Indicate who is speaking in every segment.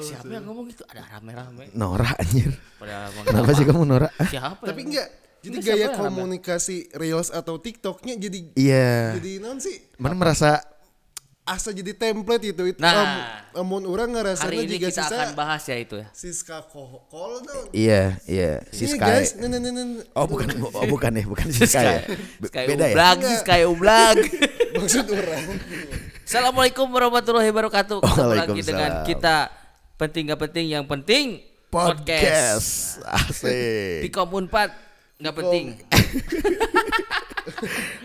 Speaker 1: Siapa yang ngomong gitu? Ada rame-rame.
Speaker 2: Nora anjir.
Speaker 1: Pada ngomong
Speaker 2: Nah, Kenapa sih kamu Nora? Ah,
Speaker 1: Siapa?
Speaker 3: Tapi
Speaker 1: yang-
Speaker 3: enggak. Jadi
Speaker 1: Enggak,
Speaker 3: gaya
Speaker 1: siapa yang rame?
Speaker 3: komunikasi Reels atau TikToknya jadi
Speaker 2: Iya.
Speaker 3: jadi non sih
Speaker 2: Mana merasa
Speaker 3: asa jadi template gitu. Itu
Speaker 1: Nah.
Speaker 3: em- emun orang ngerasanya
Speaker 1: Hari ini
Speaker 3: juga
Speaker 1: kita
Speaker 3: sisa
Speaker 1: akan bahas ya itu ya.
Speaker 3: Siska Ko- Kol dong.
Speaker 2: iya, iya, si Sky.
Speaker 3: Ini guys, nen, nen, nen, nen.
Speaker 2: Oh, bukan oh, bukan ya, bukan si Sky. Be-
Speaker 1: Sky
Speaker 2: Beda ya?
Speaker 1: Ublag, sih, Sky Ublag.
Speaker 3: maksud orang.
Speaker 1: Assalamualaikum warahmatullahi wabarakatuh. Ketemu lagi
Speaker 2: Oh, Waalaikumsalam.
Speaker 1: dengan kita penting gak penting yang penting
Speaker 2: Podcast.
Speaker 1: Di
Speaker 2: Asik.
Speaker 1: Kom Unpad nggak penting.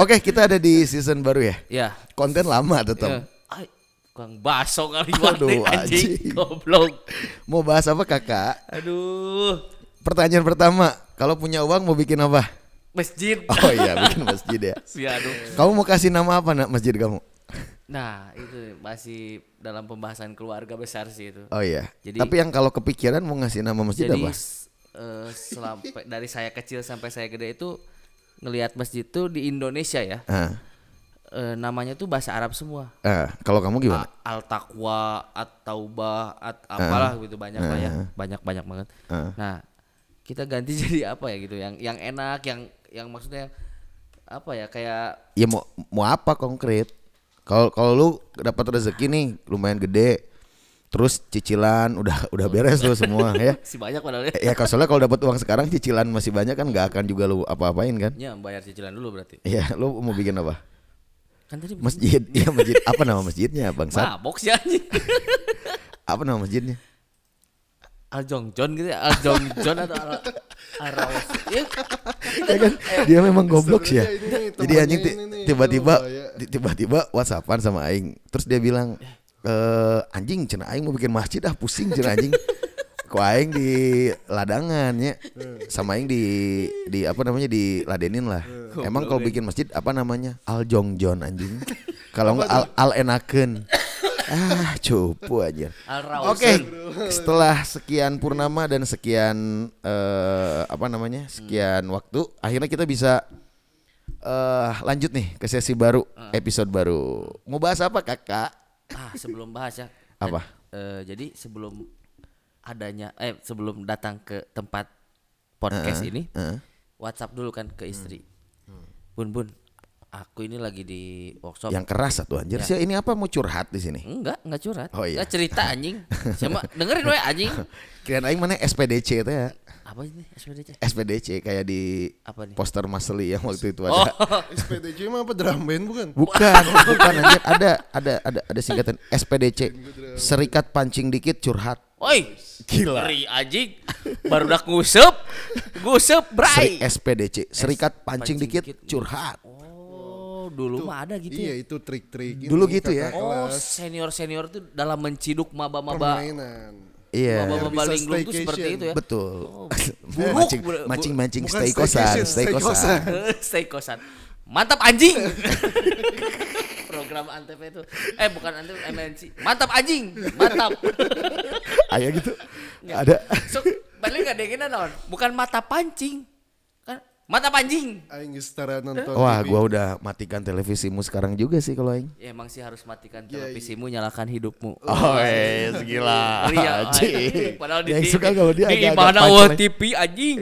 Speaker 2: Oke, kita ada di season baru ya.
Speaker 1: ya.
Speaker 2: Konten lama
Speaker 1: ya.
Speaker 2: tetap.
Speaker 1: Ay, Kang baso kali
Speaker 2: Aduh,
Speaker 1: warnet anjing
Speaker 2: anjing.
Speaker 1: goblok.
Speaker 2: Mau bahas apa, Kakak?
Speaker 1: Aduh.
Speaker 2: Pertanyaan pertama, kalau punya uang mau bikin apa?
Speaker 1: Masjid.
Speaker 2: Oh iya, bikin masjid ya.
Speaker 1: Ya, aduh.
Speaker 2: Kamu mau kasih nama apa nak masjid kamu?
Speaker 1: Nah, itu masih dalam pembahasan keluarga besar sih itu.
Speaker 2: Oh iya.
Speaker 1: Jadi-
Speaker 2: Tapi yang kalau kepikiran mau ngasih nama masjid
Speaker 1: Jadi
Speaker 2: apa?
Speaker 1: s- eh, selampai dari saya kecil sampai saya gede itu ngelihat masjid itu di Indonesia ya.
Speaker 2: Ah,
Speaker 1: eh, namanya tuh bahasa Arab semua.
Speaker 2: ah, kalau kamu gimana?
Speaker 1: A- Al Taqwa, At Taubah, At apalah gitu banyak lah ya. Banyak banyak banget.
Speaker 2: Ah.
Speaker 1: Nah, kita ganti jadi apa ya gitu yang yang enak, yang yang maksudnya apa ya kayak
Speaker 2: Ya mau mau apa konkret? Kalau kalau lu dapat rezeki nih lumayan gede, terus cicilan udah udah beres tuh semua ya.
Speaker 1: si banyak padahal ya.
Speaker 2: Ya kalau soalnya kalau dapat uang sekarang cicilan masih banyak kan nggak akan juga lu apa-apain kan?
Speaker 1: Ya, bayar cicilan dulu berarti.
Speaker 2: Ya lu mau bikin apa?
Speaker 1: Kan tadi
Speaker 2: Masjid, iya masjid. Apa nama masjidnya bangsat?
Speaker 1: mabok sih anjing.
Speaker 2: Apa nama masjidnya?
Speaker 1: Al Jongjon gitu ya, Al Jongjon atau Al Al Rawas. Ya,
Speaker 2: ya kan dia memang goblok sih ya jadi
Speaker 3: Eh, Sebenarnya ini nih, temannya
Speaker 2: anjing ti-
Speaker 3: ini nih, oh, iya.
Speaker 2: tiba-tiba
Speaker 3: aduh, bahaya.
Speaker 2: ti- tiba-tiba whatsappan sama aing terus dia bilang eh anjing cina aing mau bikin masjid ah pusing cina anjing ku aing di ladangannya
Speaker 3: Hmm.
Speaker 2: sama aing di di apa namanya di ladenin lah
Speaker 3: Hmm.
Speaker 2: emang kalau bikin masjid apa namanya al jongjon anjing kalau nggak al al enaken ah cupu aja
Speaker 1: Al Rawas.
Speaker 2: Oke, setelah sekian purnama dan sekian eh, apa
Speaker 1: Hmm.
Speaker 2: namanya sekian waktu, akhirnya kita bisa eh lanjut nih ke sesi baru,
Speaker 1: Hmm.
Speaker 2: episode baru. Mau bahas apa kakak?
Speaker 1: Ah, sebelum bahas ya.
Speaker 2: Apa?
Speaker 1: Eh, jadi sebelum adanya eh sebelum datang ke tempat podcast ini,
Speaker 2: Heeh. Hmm.
Speaker 1: WhatsApp dulu kan ke istri. Bun bun, aku ini lagi di workshop.
Speaker 2: Yang keras satu anjir.
Speaker 1: Ya.
Speaker 2: Sia, ini apa mau curhat di sini?
Speaker 1: Enggak, enggak curhat.
Speaker 2: Oh, iya.
Speaker 1: Enggak cerita anjing. Sama dengerin we anjing.
Speaker 2: Kirain aing mana SPDC itu ya.
Speaker 1: Apa ini SPDC?
Speaker 2: SPDC kayak di
Speaker 1: Apa nih?
Speaker 2: poster Masli yang waktu itu
Speaker 1: Oh,
Speaker 2: ada.
Speaker 3: SPDC mah apa drum band bukan?
Speaker 2: Bukan, bukan anjir. Ada ada ada ada singkatan SPDC. Serikat pancing dikit curhat.
Speaker 1: oi.
Speaker 2: Gila.
Speaker 1: Ngeri anjing. Baru udah ngusep. Ngusep,
Speaker 2: Seri-
Speaker 1: bray.
Speaker 2: SPDC, Serikat Pancing,
Speaker 1: Pancing
Speaker 2: Dikit,
Speaker 1: Dikit.
Speaker 2: Curhat.
Speaker 1: Oh, dulu mah ada gitu ya.
Speaker 3: iya itu trik-trik.
Speaker 2: Dulu
Speaker 3: ini,
Speaker 2: gitu ya.
Speaker 3: kakak
Speaker 1: Oh,
Speaker 3: kelas
Speaker 1: senior-senior tuh dalam menciduk maba-maba
Speaker 3: permainan.
Speaker 2: Iya.
Speaker 1: maba-maba
Speaker 3: Bisa
Speaker 1: linglung tuh
Speaker 3: staycation.
Speaker 1: seperti itu ya.
Speaker 2: Betul.
Speaker 1: buruk,
Speaker 2: mancing,
Speaker 1: buruk.
Speaker 2: mancing, mancing,
Speaker 3: Bukan
Speaker 2: stay kosan,
Speaker 3: staycation,
Speaker 2: stay
Speaker 3: stay
Speaker 2: kosan.
Speaker 1: Stay kosan. Mantap anjing. Program Antv itu. Eh bukan Antv MNC. Mantap anjing. Mantap.
Speaker 2: Ayo gitu. Ada.
Speaker 1: So, balik gak dengin non. Bukan mata pancing. Kan mata pancing.
Speaker 3: Aing geus setara nonton
Speaker 2: Wah,
Speaker 3: TV.
Speaker 2: gua udah matikan televisimu sekarang juga sih kalau aing.
Speaker 1: Ya, emang sih harus matikan
Speaker 3: Iya,
Speaker 1: televisimu, nyalakan hidupmu.
Speaker 2: Oh,
Speaker 1: iya,
Speaker 2: eh, segila.
Speaker 1: Ngeri ya, anjing. Padahal di,
Speaker 2: Yang
Speaker 1: di-
Speaker 2: suka kalau dia
Speaker 1: di
Speaker 2: agak-agak
Speaker 1: mana
Speaker 2: punchline.
Speaker 1: OTP anjing.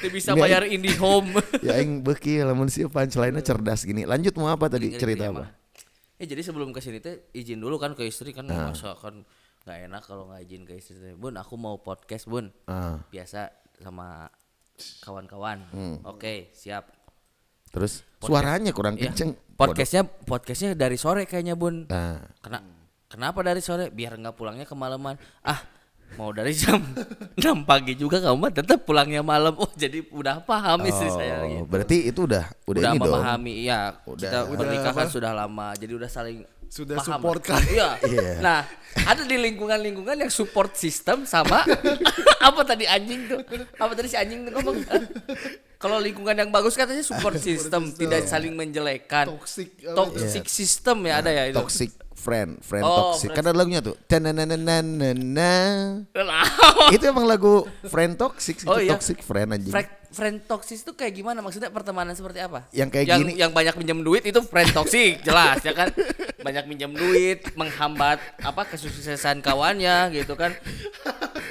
Speaker 1: Dia bisa
Speaker 2: Nggak,
Speaker 1: bayar IndiHome.
Speaker 2: Ya aing beki lamun sih punchline-nya cerdas gini. Lanjut mau apa tadi
Speaker 1: Ngeri
Speaker 2: cerita
Speaker 1: tuh
Speaker 2: apa?
Speaker 1: emang. Eh jadi sebelum ke sini teh izin dulu kan ke istri kan
Speaker 2: Ah.
Speaker 1: masa kan nggak enak kalau nggak izin ke istri. teh. Bun, aku mau podcast, Bun.
Speaker 2: Ah. Hmm.
Speaker 1: Biasa sama kawan-kawan. Oke, siap.
Speaker 2: Terus suaranya kurang
Speaker 1: Ya,
Speaker 2: kenceng.
Speaker 1: podcastnya podcastnya dari sore kayaknya, Bun.
Speaker 2: Nah,
Speaker 1: Kena, kenapa dari sore? Biar nggak pulangnya kemalaman. Ah, mau dari jam 6 pagi juga kamu mah tetap pulangnya malam. Oh, jadi udah paham istri saya
Speaker 2: oh,
Speaker 1: gitu.
Speaker 2: berarti itu udah udah,
Speaker 1: udah
Speaker 2: ini dong.
Speaker 1: memahami ya kita
Speaker 2: Udah.
Speaker 1: pernikahan sudah lama jadi udah saling
Speaker 3: Sudah
Speaker 1: paham.
Speaker 3: support kan?
Speaker 1: iya
Speaker 2: Iya.
Speaker 1: nah ada di lingkungan-lingkungan yang support system sama apa tadi anjing tuh apa tadi si anjing tuh ngomong kalau lingkungan yang bagus katanya support system tidak saling menjelekkan
Speaker 3: Toxic apa
Speaker 1: toxic
Speaker 2: Iya.
Speaker 1: system ya ada ya itu
Speaker 2: toxic friend, friend
Speaker 1: Oh,
Speaker 2: toxic.
Speaker 1: friend-
Speaker 2: Karena lagunya tuh. "Tananananana."
Speaker 1: Lah.
Speaker 2: Itu emang lagu friend toxic, itu
Speaker 1: Oh, iya.
Speaker 2: toxic friend anjing.
Speaker 1: Friend, friend toxic itu kayak gimana? Maksudnya pertemanan seperti apa?
Speaker 2: Yang kayak gini.
Speaker 1: Yang banyak pinjam duit itu friend toxic, jelas ya kan? banyak minjem duit, menghambat apa kesuksesan kawannya gitu kan.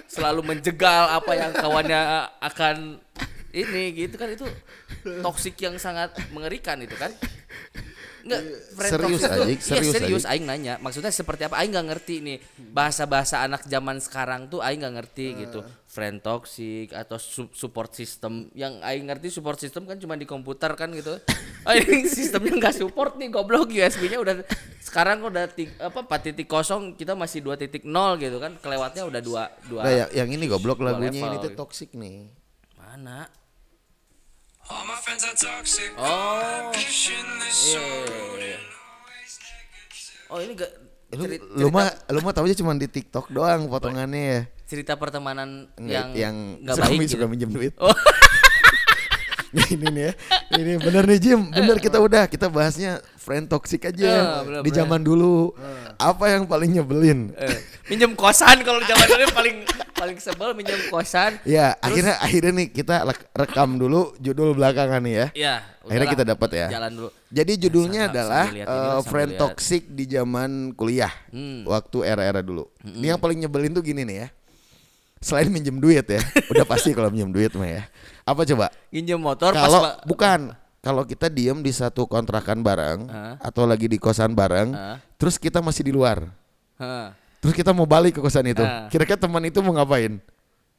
Speaker 1: Selalu menjegal apa yang kawannya eh, akan ini gitu kan itu toksik yang sangat mengerikan itu kan. Enggak, friend
Speaker 2: Serius,
Speaker 1: toxic tuh-
Speaker 2: Ajik,
Speaker 1: Iya,
Speaker 2: serius,
Speaker 1: serius
Speaker 2: Ajik.
Speaker 1: aing nanya. Maksudnya seperti apa? Aing nggak ngerti nih. Bahasa-bahasa anak zaman sekarang tuh aing nggak ngerti
Speaker 2: Eh.
Speaker 1: gitu. Friend toxic atau su- support system. Yang aing ngerti support system kan cuma di komputer kan gitu. Aing sistemnya nggak support nih goblok USB-nya udah sekarang udah ti- apa 4.0 kita masih 2.0 gitu kan. Kelewatnya udah dua dua
Speaker 2: Nah, yang, yang ini goblok
Speaker 1: Dua
Speaker 2: lagunya ini
Speaker 1: level.
Speaker 2: tuh toxic nih.
Speaker 1: mana?
Speaker 4: All my friends are toxic.
Speaker 1: Oh.
Speaker 4: Pushing this
Speaker 1: Iya, iya, iya, iya. Oh, ini gak
Speaker 2: Lu, lu mah lu mah taunya cuma di TikTok doang potongannya ya.
Speaker 1: cerita pertemanan
Speaker 2: Nggak-
Speaker 1: yang
Speaker 2: yang
Speaker 1: nggak
Speaker 2: suka,
Speaker 1: baik gitu.
Speaker 2: suka minjem duit.
Speaker 1: Oh.
Speaker 2: Nih, ini nih ya. Ini bener nih Jim, bener kita udah kita bahasnya friend toxic aja ya.
Speaker 1: Eh, bener, bener.
Speaker 2: di
Speaker 1: Ah.
Speaker 2: zaman dulu. Apa yang paling nyebelin?
Speaker 1: Eh, minjem kosan kalau zaman dulu paling paling sebel minjem kosan.
Speaker 2: Ya, akhirnya akhirnya nih kita lek- rekam dulu judul belakangan nih ya.
Speaker 1: Ya, udahlah,
Speaker 2: Akhirnya kita dapat ya.
Speaker 1: Jalan dulu.
Speaker 2: Jadi judulnya
Speaker 1: Nah, Sambil-
Speaker 2: adalah
Speaker 1: sambil lihat
Speaker 2: eh,
Speaker 1: ini lah, sambil
Speaker 2: friend
Speaker 1: lihat. Hmm.
Speaker 2: toxic di zaman kuliah. Waktu era-era dulu. Ini yang paling nyebelin tuh gini nih ya. Selain minjem duit ya, udah pasti kalau minjem duit mah ya. Apa coba?
Speaker 1: Minjem motor pas
Speaker 2: kalau
Speaker 1: ba-
Speaker 2: bukan kalau kita diem di satu kontrakan bareng
Speaker 1: Hah?
Speaker 2: atau lagi di kosan bareng,
Speaker 1: Hah?
Speaker 2: terus kita masih di luar,
Speaker 1: Hah.
Speaker 2: terus kita mau balik ke kosan itu,
Speaker 1: Hah.
Speaker 2: kira-kira teman itu mau ngapain?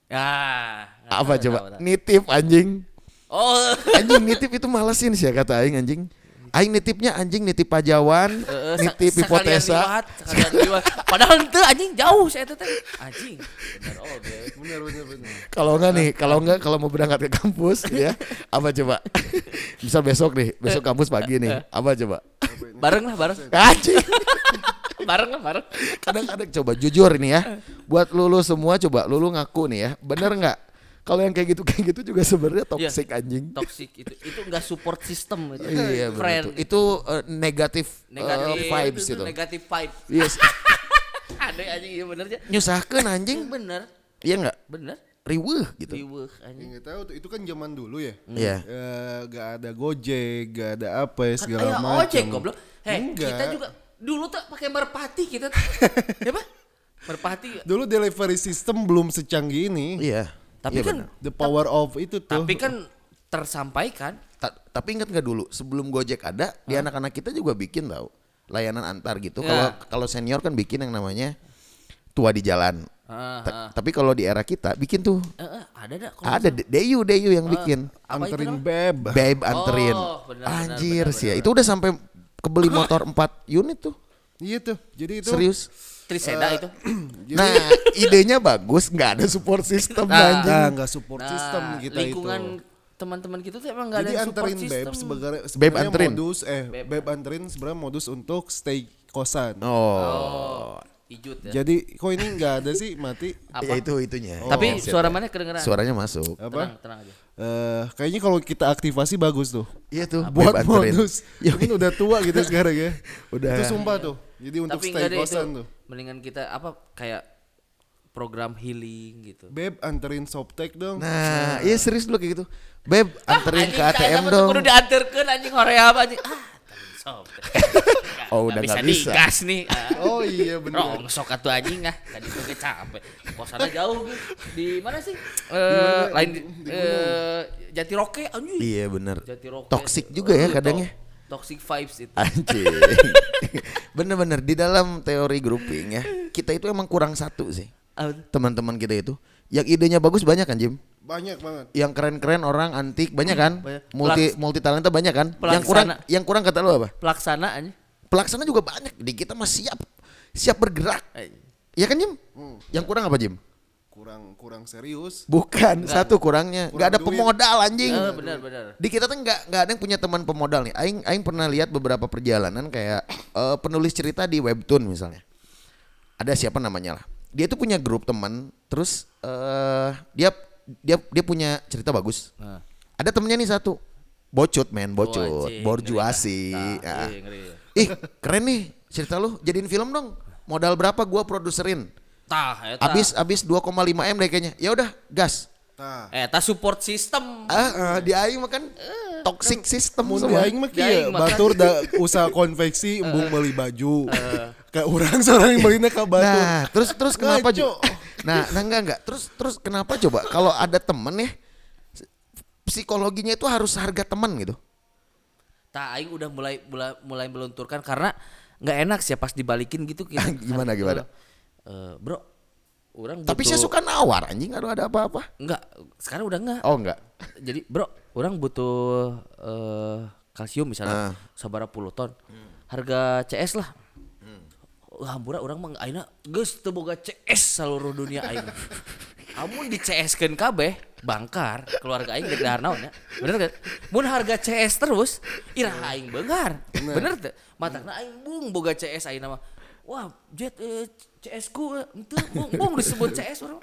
Speaker 1: Ya. nggak
Speaker 2: Apa
Speaker 1: tahu,
Speaker 2: coba?
Speaker 1: tahu, tahu.
Speaker 2: Nitip anjing,
Speaker 1: Oh.
Speaker 2: anjing nitip itu malesin sih ya kata Aing anjing. Aing nitipnya anjing nitip pajawan,
Speaker 1: eh, sa-
Speaker 2: nitip
Speaker 1: sekalian
Speaker 2: hipotesa.
Speaker 1: liwat, sekalian liwat. Padahal itu anjing jauh saya tuh teh. Anjing. Bener oh deh.
Speaker 3: Bener bener bener.
Speaker 2: Kalau enggak nih, kalau enggak kalau mau berangkat ke kampus gitu ya, apa coba? Misal besok nih, besok kampus pagi nih, apa coba?
Speaker 1: Bareng lah bareng.
Speaker 2: Anjing.
Speaker 1: Bareng lah bareng.
Speaker 2: kadang-kadang coba jujur ini ya buat lulu semua coba lulu ngaku nih ya bener nggak kalau yang kayak gitu kayak gitu juga sebenarnya
Speaker 1: Iya.
Speaker 2: toxic anjing
Speaker 1: Toxic itu. Itu enggak support system itu.
Speaker 2: iya bener
Speaker 1: Friend.
Speaker 2: tuh. itu eh, negatif
Speaker 1: Negatif
Speaker 2: eh, vibes itu
Speaker 1: Negatif vibe.
Speaker 2: yes
Speaker 1: Ada anjing iya bener ya.
Speaker 2: nyusahkan anjing
Speaker 1: Bener.
Speaker 2: iya nggak
Speaker 1: Bener.
Speaker 2: riweh gitu
Speaker 1: Riweuh anjing.
Speaker 3: Ya, nggak tahu tuh, itu kan zaman dulu ya.
Speaker 2: Iya.
Speaker 3: Eh, Gak ada Gojek, gak ada apa ya, segala
Speaker 1: Kan Ayo
Speaker 3: macam.
Speaker 1: ojek goblok. Heh,
Speaker 3: Enggak.
Speaker 1: kita juga dulu tuh pakai merpati kita. tuh. ya apa? Merpati.
Speaker 3: Dulu delivery system belum secanggih ini.
Speaker 2: iya
Speaker 1: Tapi
Speaker 2: Iya,
Speaker 1: kan
Speaker 2: bener.
Speaker 3: The power of itu tuh.
Speaker 1: tapi kan tersampaikan.
Speaker 2: Ta- tapi ingat nggak dulu sebelum gojek ada di anak-anak kita juga bikin tau layanan antar gitu kalau
Speaker 1: Ya.
Speaker 2: kalau senior kan bikin yang namanya tua di jalan
Speaker 1: Ah,
Speaker 2: Ta- tapi kalau di era kita bikin tuh
Speaker 1: Eh, eh, ada dah kalau
Speaker 2: ada De- Deyu Deyu yang bikin
Speaker 1: apa itu
Speaker 3: anterin
Speaker 1: namanya?
Speaker 3: beb.
Speaker 2: Babe anterin.
Speaker 1: Oh, benar, benar,
Speaker 2: Anjir
Speaker 1: benar,
Speaker 2: sih ya. Itu udah sampai kebeli motor 4 unit tuh.
Speaker 3: Iya tuh. Jadi itu
Speaker 2: Serius.
Speaker 1: Triseda
Speaker 3: Eh,
Speaker 1: itu.
Speaker 2: Nah, idenya bagus, nggak ada support system
Speaker 1: Nah,
Speaker 2: anjing.
Speaker 3: Nah, nggak support
Speaker 1: Nah,
Speaker 3: system kita
Speaker 1: lingkungan
Speaker 3: itu.
Speaker 1: teman-teman kita tuh emang nggak ada
Speaker 3: Jadi
Speaker 1: yang support
Speaker 3: anterin beb
Speaker 1: system. ya.
Speaker 3: sebagai sebenarnya
Speaker 2: Babe anterin.
Speaker 3: modus eh beb anterin sebenarnya modus untuk stay kosan.
Speaker 1: Oh,
Speaker 2: Oh.
Speaker 1: ijut ya.
Speaker 3: Jadi kok ini nggak ada sih mati
Speaker 2: Ya itu itunya.
Speaker 1: Tapi
Speaker 3: Oh,
Speaker 2: Headset
Speaker 1: suara
Speaker 2: ya.
Speaker 1: mana kedengeran?
Speaker 2: Suaranya masuk.
Speaker 1: Tenang,
Speaker 3: apa?
Speaker 1: tenang aja.
Speaker 3: Eh, kayaknya kalau kita aktivasi bagus tuh.
Speaker 2: Iya tuh,
Speaker 1: Ah,
Speaker 3: buat
Speaker 2: Babe anterin. Iya.
Speaker 3: modus.
Speaker 2: Yo,
Speaker 3: Mungkin udah tua gitu sekarang ya.
Speaker 2: Udah.
Speaker 3: Itu sumpah tuh. Jadi untuk
Speaker 1: Tapi
Speaker 3: stay
Speaker 1: enggak deh itu.
Speaker 3: kosan tuh.
Speaker 1: Mendingan kita apa kayak program healing gitu.
Speaker 3: Beb anterin Soptek dong.
Speaker 2: Nah, iya serius dulu kayak gitu. Beb,
Speaker 1: Ah,
Speaker 2: anterin
Speaker 1: Anjing,
Speaker 2: ke
Speaker 1: saya
Speaker 2: ATM
Speaker 1: sama tuh
Speaker 2: dong.
Speaker 1: Kudu dianterkeun anjing Korea apa anjing. Ah, tadi sob.
Speaker 2: Oh, udah nggak bisa.
Speaker 1: digas nih. Ah,
Speaker 3: Oh iya benar.
Speaker 1: Rongsok atuh anjing ah. Tadi tuh gue capek. Kosannya jauh gitu. Di mana sih? Eh, lain di, eh, Jati Roke anjing.
Speaker 2: Iya bener.
Speaker 1: Jati Roke.
Speaker 2: Toxic juga ya
Speaker 1: Eh,
Speaker 2: kadang ya. Ah.
Speaker 1: to- Toxic vibes itu.
Speaker 2: Anjing. Bener-bener di dalam teori grouping ya, kita itu emang kurang satu sih.
Speaker 1: Apa tuh?
Speaker 2: Teman-teman kita itu yang idenya bagus banyak kan Jim?
Speaker 3: Banyak banget.
Speaker 2: yang keren-keren orang antik banyak kan?
Speaker 1: Banyak.
Speaker 2: Multi multi talenta banyak kan? Yang
Speaker 1: Pelaksana.
Speaker 2: kurang yang kurang kata lu apa?
Speaker 1: Pelaksanaan.
Speaker 2: Pelaksana juga banyak. Di kita mah siap siap bergerak. Ya kan Jim?
Speaker 1: Hmm.
Speaker 2: Yang kurang apa Jim?
Speaker 3: Kurang kurang serius.
Speaker 2: Bukan satu kurangnya. nggak ada
Speaker 3: duit.
Speaker 2: pemodal anjing.
Speaker 1: Eh, benar benar.
Speaker 2: Di kita tuh nggak nggak ada yang punya teman pemodal nih. Aing aing pernah lihat beberapa perjalanan kayak eh, penulis cerita di webtoon misalnya. Ada siapa namanya lah. Dia tuh punya grup teman, terus eh dia dia dia punya cerita bagus.
Speaker 1: Nah.
Speaker 2: Ada temennya nih satu. Bocut men, bocut.
Speaker 1: Oh, anjing,
Speaker 2: Borjuasi.
Speaker 1: ngeri. Nah,
Speaker 2: Ah.
Speaker 1: iya, ngeri.
Speaker 2: Ih, keren nih cerita lu. Jadiin film dong. Modal berapa gua produserin?
Speaker 1: Tah, eta.
Speaker 2: Abis abis 2,5 M deh kayaknya. Ya udah, gas.
Speaker 3: Nah,
Speaker 1: eta Eh, support system.
Speaker 2: Ah, ah, di aing mah kan toxic system
Speaker 3: Mun di
Speaker 2: semua.
Speaker 3: aing mah
Speaker 1: Di aing
Speaker 3: kieu
Speaker 1: mah Eh.
Speaker 3: batur da usaha konveksi embung meuli baju. Ka urang sareng meulina ka batur.
Speaker 2: Nah, terus terus kenapa
Speaker 3: Ngaco.
Speaker 2: juga? Nah, nah enggak enggak. Terus terus kenapa coba kalau ada temen ya psikologinya itu harus harga teman gitu.
Speaker 1: Tak aing udah mulai mulai, mulai melunturkan karena nggak enak sih ya pas dibalikin gitu kita.
Speaker 2: Gimana, gimana?
Speaker 1: Eh, bro, orang
Speaker 2: Tapi saya suka nawar anjing aduh ada apa-apa.
Speaker 1: Enggak, sekarang udah enggak.
Speaker 2: Oh enggak.
Speaker 1: Jadi, bro, orang butuh eh kalsium misalnya
Speaker 2: Ah.
Speaker 1: sabara puluh ton. Harga CS lah. Wah, hampura orang mah ayeuna geus teu boga CS seluruh dunia aing. Amun di CS-keun kabeh bangkar keluarga aing gede naon ya. Bener kan? Mun harga CS terus iraha aing beungar. Bener teu? Matana aing bung boga CS ayeuna mah. Wah, jet eh, CS ku eh, henteu bung bung disebut CS orang.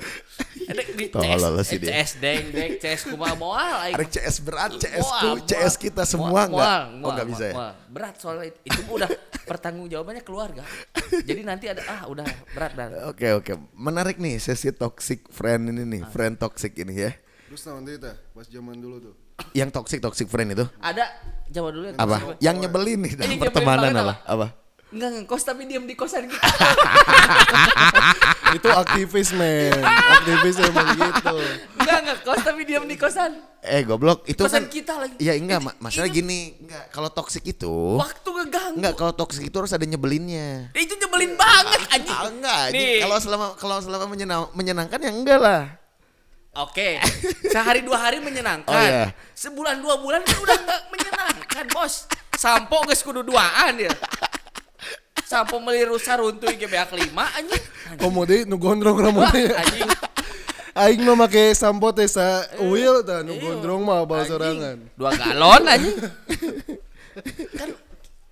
Speaker 1: Edek di CS,
Speaker 2: Tolol sih
Speaker 1: eh,
Speaker 2: dia.
Speaker 1: CS deng deng CS kumaha moal aing.
Speaker 2: Ada CS berat, CS ku,
Speaker 1: Mual, mual.
Speaker 2: CS kita
Speaker 1: Mual,
Speaker 2: semua enggak.
Speaker 1: mual,
Speaker 2: Oh
Speaker 1: mual,
Speaker 2: enggak bisa ya.
Speaker 1: mual. ah. Berat soalnya itu, itu mah udah pertanggung jawabannya keluarga. Jadi nanti ada ah udah berat dan
Speaker 2: Oke oke, menarik nih sesi toxic friend ini nih, friend toxic ini ya.
Speaker 3: Terus naon teh tah pas zaman dulu tuh.
Speaker 2: Yang toxic toxic friend itu
Speaker 1: ada jawab dulu yang
Speaker 2: apa? Yang nyebelin nih dalam
Speaker 1: nyebelin
Speaker 2: pertemanan
Speaker 1: banget
Speaker 2: apa? Apa?
Speaker 1: Enggak ngekos tapi diem di kosan gitu. kita.
Speaker 3: Itu aktivis men, aktivis emang gitu.
Speaker 1: Enggak ngekos tapi diem di kosan.
Speaker 2: Eh goblok itu
Speaker 1: Pesan
Speaker 2: kan
Speaker 1: kita lagi.
Speaker 2: Iya enggak, ma- masalah
Speaker 1: itu-
Speaker 2: gini, enggak kalau toxic itu
Speaker 1: Waktu ngeganggu.
Speaker 2: enggak kalau toxic itu harus ada nyebelinnya.
Speaker 1: Itu nyebelin banget anjing.
Speaker 2: Ah, enggak, anjing.
Speaker 1: Nih.
Speaker 2: kalau selama kalau selama menyenang- menyenangkan ya enggak lah.
Speaker 1: Oke, sehari dua hari menyenangkan.
Speaker 2: Oh, iya.
Speaker 1: Sebulan dua bulan kan udah nggak menyenangkan bos. Sampo geus kudu duaan ya. Sampo melirusa runtuh ke beak lima anjing.
Speaker 3: Komode nu gondrong rambutnya.
Speaker 1: anjing.
Speaker 3: Aing mah make sampo teh sa uil tah nu gondrong mah bawa
Speaker 1: Anjing.
Speaker 3: sorangan.
Speaker 1: Dua galon anjing. kan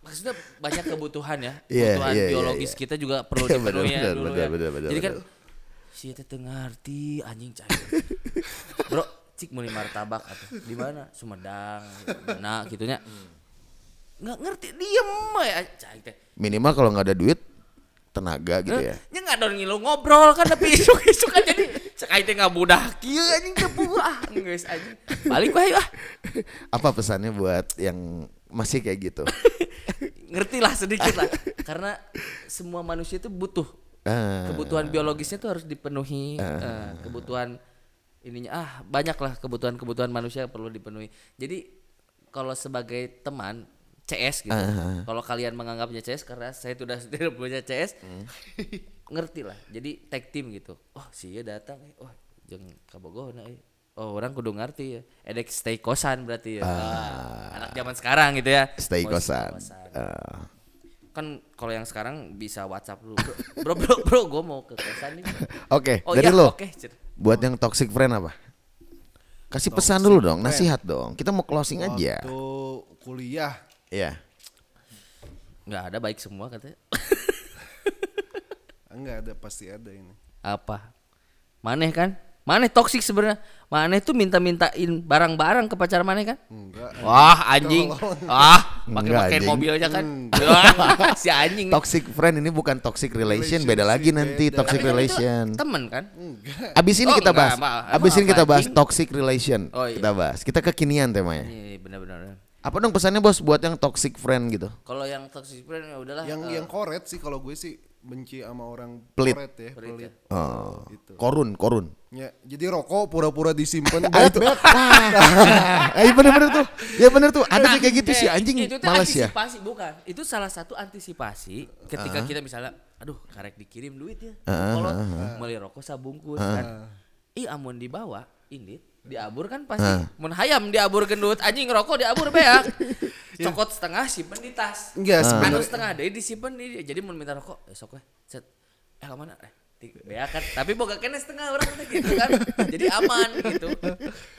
Speaker 1: maksudnya banyak kebutuhan ya.
Speaker 2: Iya,
Speaker 1: Kebutuhan
Speaker 2: iya, iya,
Speaker 1: biologis
Speaker 2: iya.
Speaker 1: kita juga perlu
Speaker 2: Iya,
Speaker 1: dipenuhi ya
Speaker 2: benar,
Speaker 1: dulu
Speaker 2: benar,
Speaker 1: ya.
Speaker 2: benar, benar,
Speaker 1: Jadi kan
Speaker 2: benar.
Speaker 1: si teh teu ngarti anjing cai. Bro, cik muni martabak atuh. Di mana? Sumedang, mana gitunya. Nggak ngerti diem we, ah, cai teh.
Speaker 2: Minimal kalau nggak ada duit tenaga gitu ya.
Speaker 1: Nya ngadon ngilu ngobrol kan tapi isuk-isuk kan jadi cek aing teh ngabudak kieu anjing kepu ah geus anjing. Balik we ayo, ah.
Speaker 2: Apa pesannya buat yang masih kayak gitu?
Speaker 1: ngerti lah sedikit lah karena semua manusia itu butuh
Speaker 2: Ah.
Speaker 1: kebutuhan biologisnya tuh harus dipenuhi eh, kebutuhan ininya ah banyak lah kebutuhan kebutuhan manusia yang perlu dipenuhi jadi kalau sebagai teman CS gitu kalau kalian menganggapnya CS karena saya sudah tidak punya CS ngerti lah jadi tag team gitu oh si ieu datang eh. oh jeung kabogohna eh. oh orang kudu ngerti ya edek stay kosan berarti ya Ah, anak zaman sekarang gitu ya
Speaker 2: Stay
Speaker 1: Oh,
Speaker 2: kosan. Eh,
Speaker 1: kan kalau yang sekarang bisa WhatsApp lu bro bro bro, bro gue mau ke kosan nih
Speaker 2: Oke,
Speaker 1: oh
Speaker 2: dari
Speaker 1: iya
Speaker 2: lo.
Speaker 1: oke cer.
Speaker 2: Buat yang toxic friend apa? Kasih pesan dulu dong, nasihat dong. Kita mau closing aja.
Speaker 3: Waktu kuliah
Speaker 2: Iya.
Speaker 1: nggak ada baik semua katanya
Speaker 3: enggak ada pasti ada ini.
Speaker 1: apa maneh kan maneh toksik sebenarnya maneh tuh minta-mintain barang-barang ke pacar maneh kan
Speaker 3: Enggak.
Speaker 1: wah anjing ah pakai pakai
Speaker 2: Enggak, Hmm. anjing. Hmm.
Speaker 1: mobilnya kan Wah, si anjing nih.
Speaker 2: Toxic friend ini bukan toxic relation, beda lagi nanti
Speaker 3: beda.
Speaker 2: toxic
Speaker 1: Tapi kan itu
Speaker 2: relation. Hmm.
Speaker 1: temen kan
Speaker 2: Abis ini
Speaker 1: Oh,
Speaker 2: kita
Speaker 1: enggak,
Speaker 2: bahas.
Speaker 1: maaf.
Speaker 2: Abis ini
Speaker 1: Maaf,
Speaker 2: kita bahas
Speaker 1: anjing.
Speaker 2: toxic relation.
Speaker 1: Oh, iya.
Speaker 2: Kita bahas. Kita kekinian temanya.
Speaker 1: iya iya, benar-benar
Speaker 2: Apa dong pesannya bos buat yang toxic friend gitu?
Speaker 1: kalau yang toxic friend ya udahlah
Speaker 3: Yang
Speaker 1: eh,
Speaker 3: yang koret sih kalau gue sih benci sama orang
Speaker 2: Pelit.
Speaker 3: koret ya, pelit.
Speaker 2: Oh,
Speaker 1: Gitu.
Speaker 2: korun, korun.
Speaker 3: Ya, jadi rokok pura-pura disimpan
Speaker 2: Ah,
Speaker 3: bet,
Speaker 2: itu.
Speaker 3: bet.
Speaker 2: Wah. Eh, bener-bener tuh. Ya bener tuh. Ada sih
Speaker 1: Nah,
Speaker 2: kayak gitu
Speaker 1: eh,
Speaker 2: sih anjing
Speaker 1: itu teh
Speaker 2: malas ya.
Speaker 1: antisipasi bukan itu salah satu antisipasi ketika kita misalnya aduh karek dikirim duit ya kalau beli rokok sabungkus kan ih amun dibawa ini diabur kan pasti mun hayam diabur gendut anjing rokok diabur beak
Speaker 2: Iya.
Speaker 1: cokot setengah simpen di tas anu
Speaker 2: Ah.
Speaker 3: Enggak, sebenarnya-
Speaker 1: setengah deh disimpen di jadi mun minta rokok eh, sok we set eh kemana eh di- beak kan tapi boga kena setengah orang teh gitu kan jadi aman gitu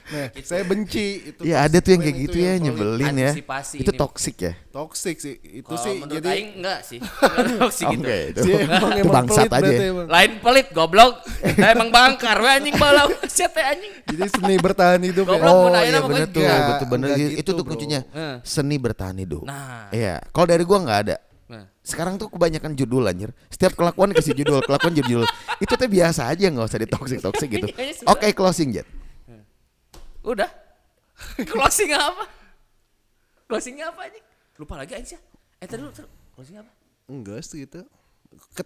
Speaker 3: Nah, saya benci itu.
Speaker 2: Ya ada tuh yang kayak
Speaker 3: Itu
Speaker 2: gitu
Speaker 3: yang
Speaker 2: ya
Speaker 3: paling
Speaker 2: nyebelin ya.
Speaker 1: antisipasi
Speaker 2: Itu
Speaker 1: ini.
Speaker 2: toxic ya.
Speaker 3: Toxic sih itu
Speaker 1: Kalau
Speaker 3: sih
Speaker 1: menurut
Speaker 3: jadi
Speaker 1: aing enggak sih Enggak sih
Speaker 2: Oh,
Speaker 1: gitu
Speaker 2: enggak ya, itu.
Speaker 3: Si emang-
Speaker 2: Itu
Speaker 3: emang
Speaker 2: bangsat
Speaker 3: pelit
Speaker 2: aja.
Speaker 3: berarti
Speaker 2: ya.
Speaker 3: emang.
Speaker 1: lain pelit goblok nah, emang bangkar we anjing balau set teh anjing
Speaker 3: Jadi seni bertahan hidup ya.
Speaker 1: Goblok.
Speaker 2: Oh
Speaker 1: Mun ayeuna
Speaker 2: iya
Speaker 1: pokoknya
Speaker 2: bener tuh,
Speaker 3: enggak,
Speaker 2: betul bener
Speaker 3: enggak
Speaker 2: gitu.
Speaker 3: gitu,
Speaker 2: itu tuh
Speaker 3: bro.
Speaker 2: kuncinya.
Speaker 1: Eh.
Speaker 2: Seni bertahan hidup.
Speaker 1: Nah.
Speaker 2: Iya, kalau dari gua nggak ada.
Speaker 1: Nah.
Speaker 2: Sekarang tuh kebanyakan judul anjir. Setiap kelakuan kasih judul, kelakuan jadi judul. Itu tuh biasa aja nggak usah ditoxic toxic gitu.
Speaker 1: Iya, iya,
Speaker 2: Oke, closing Jet.
Speaker 1: udah closing apa Closingnya apa anjing? Lupa lagi anjing. Eh tadi dulu, tadi dulu. closingnya apa?
Speaker 3: Enggak sih itu.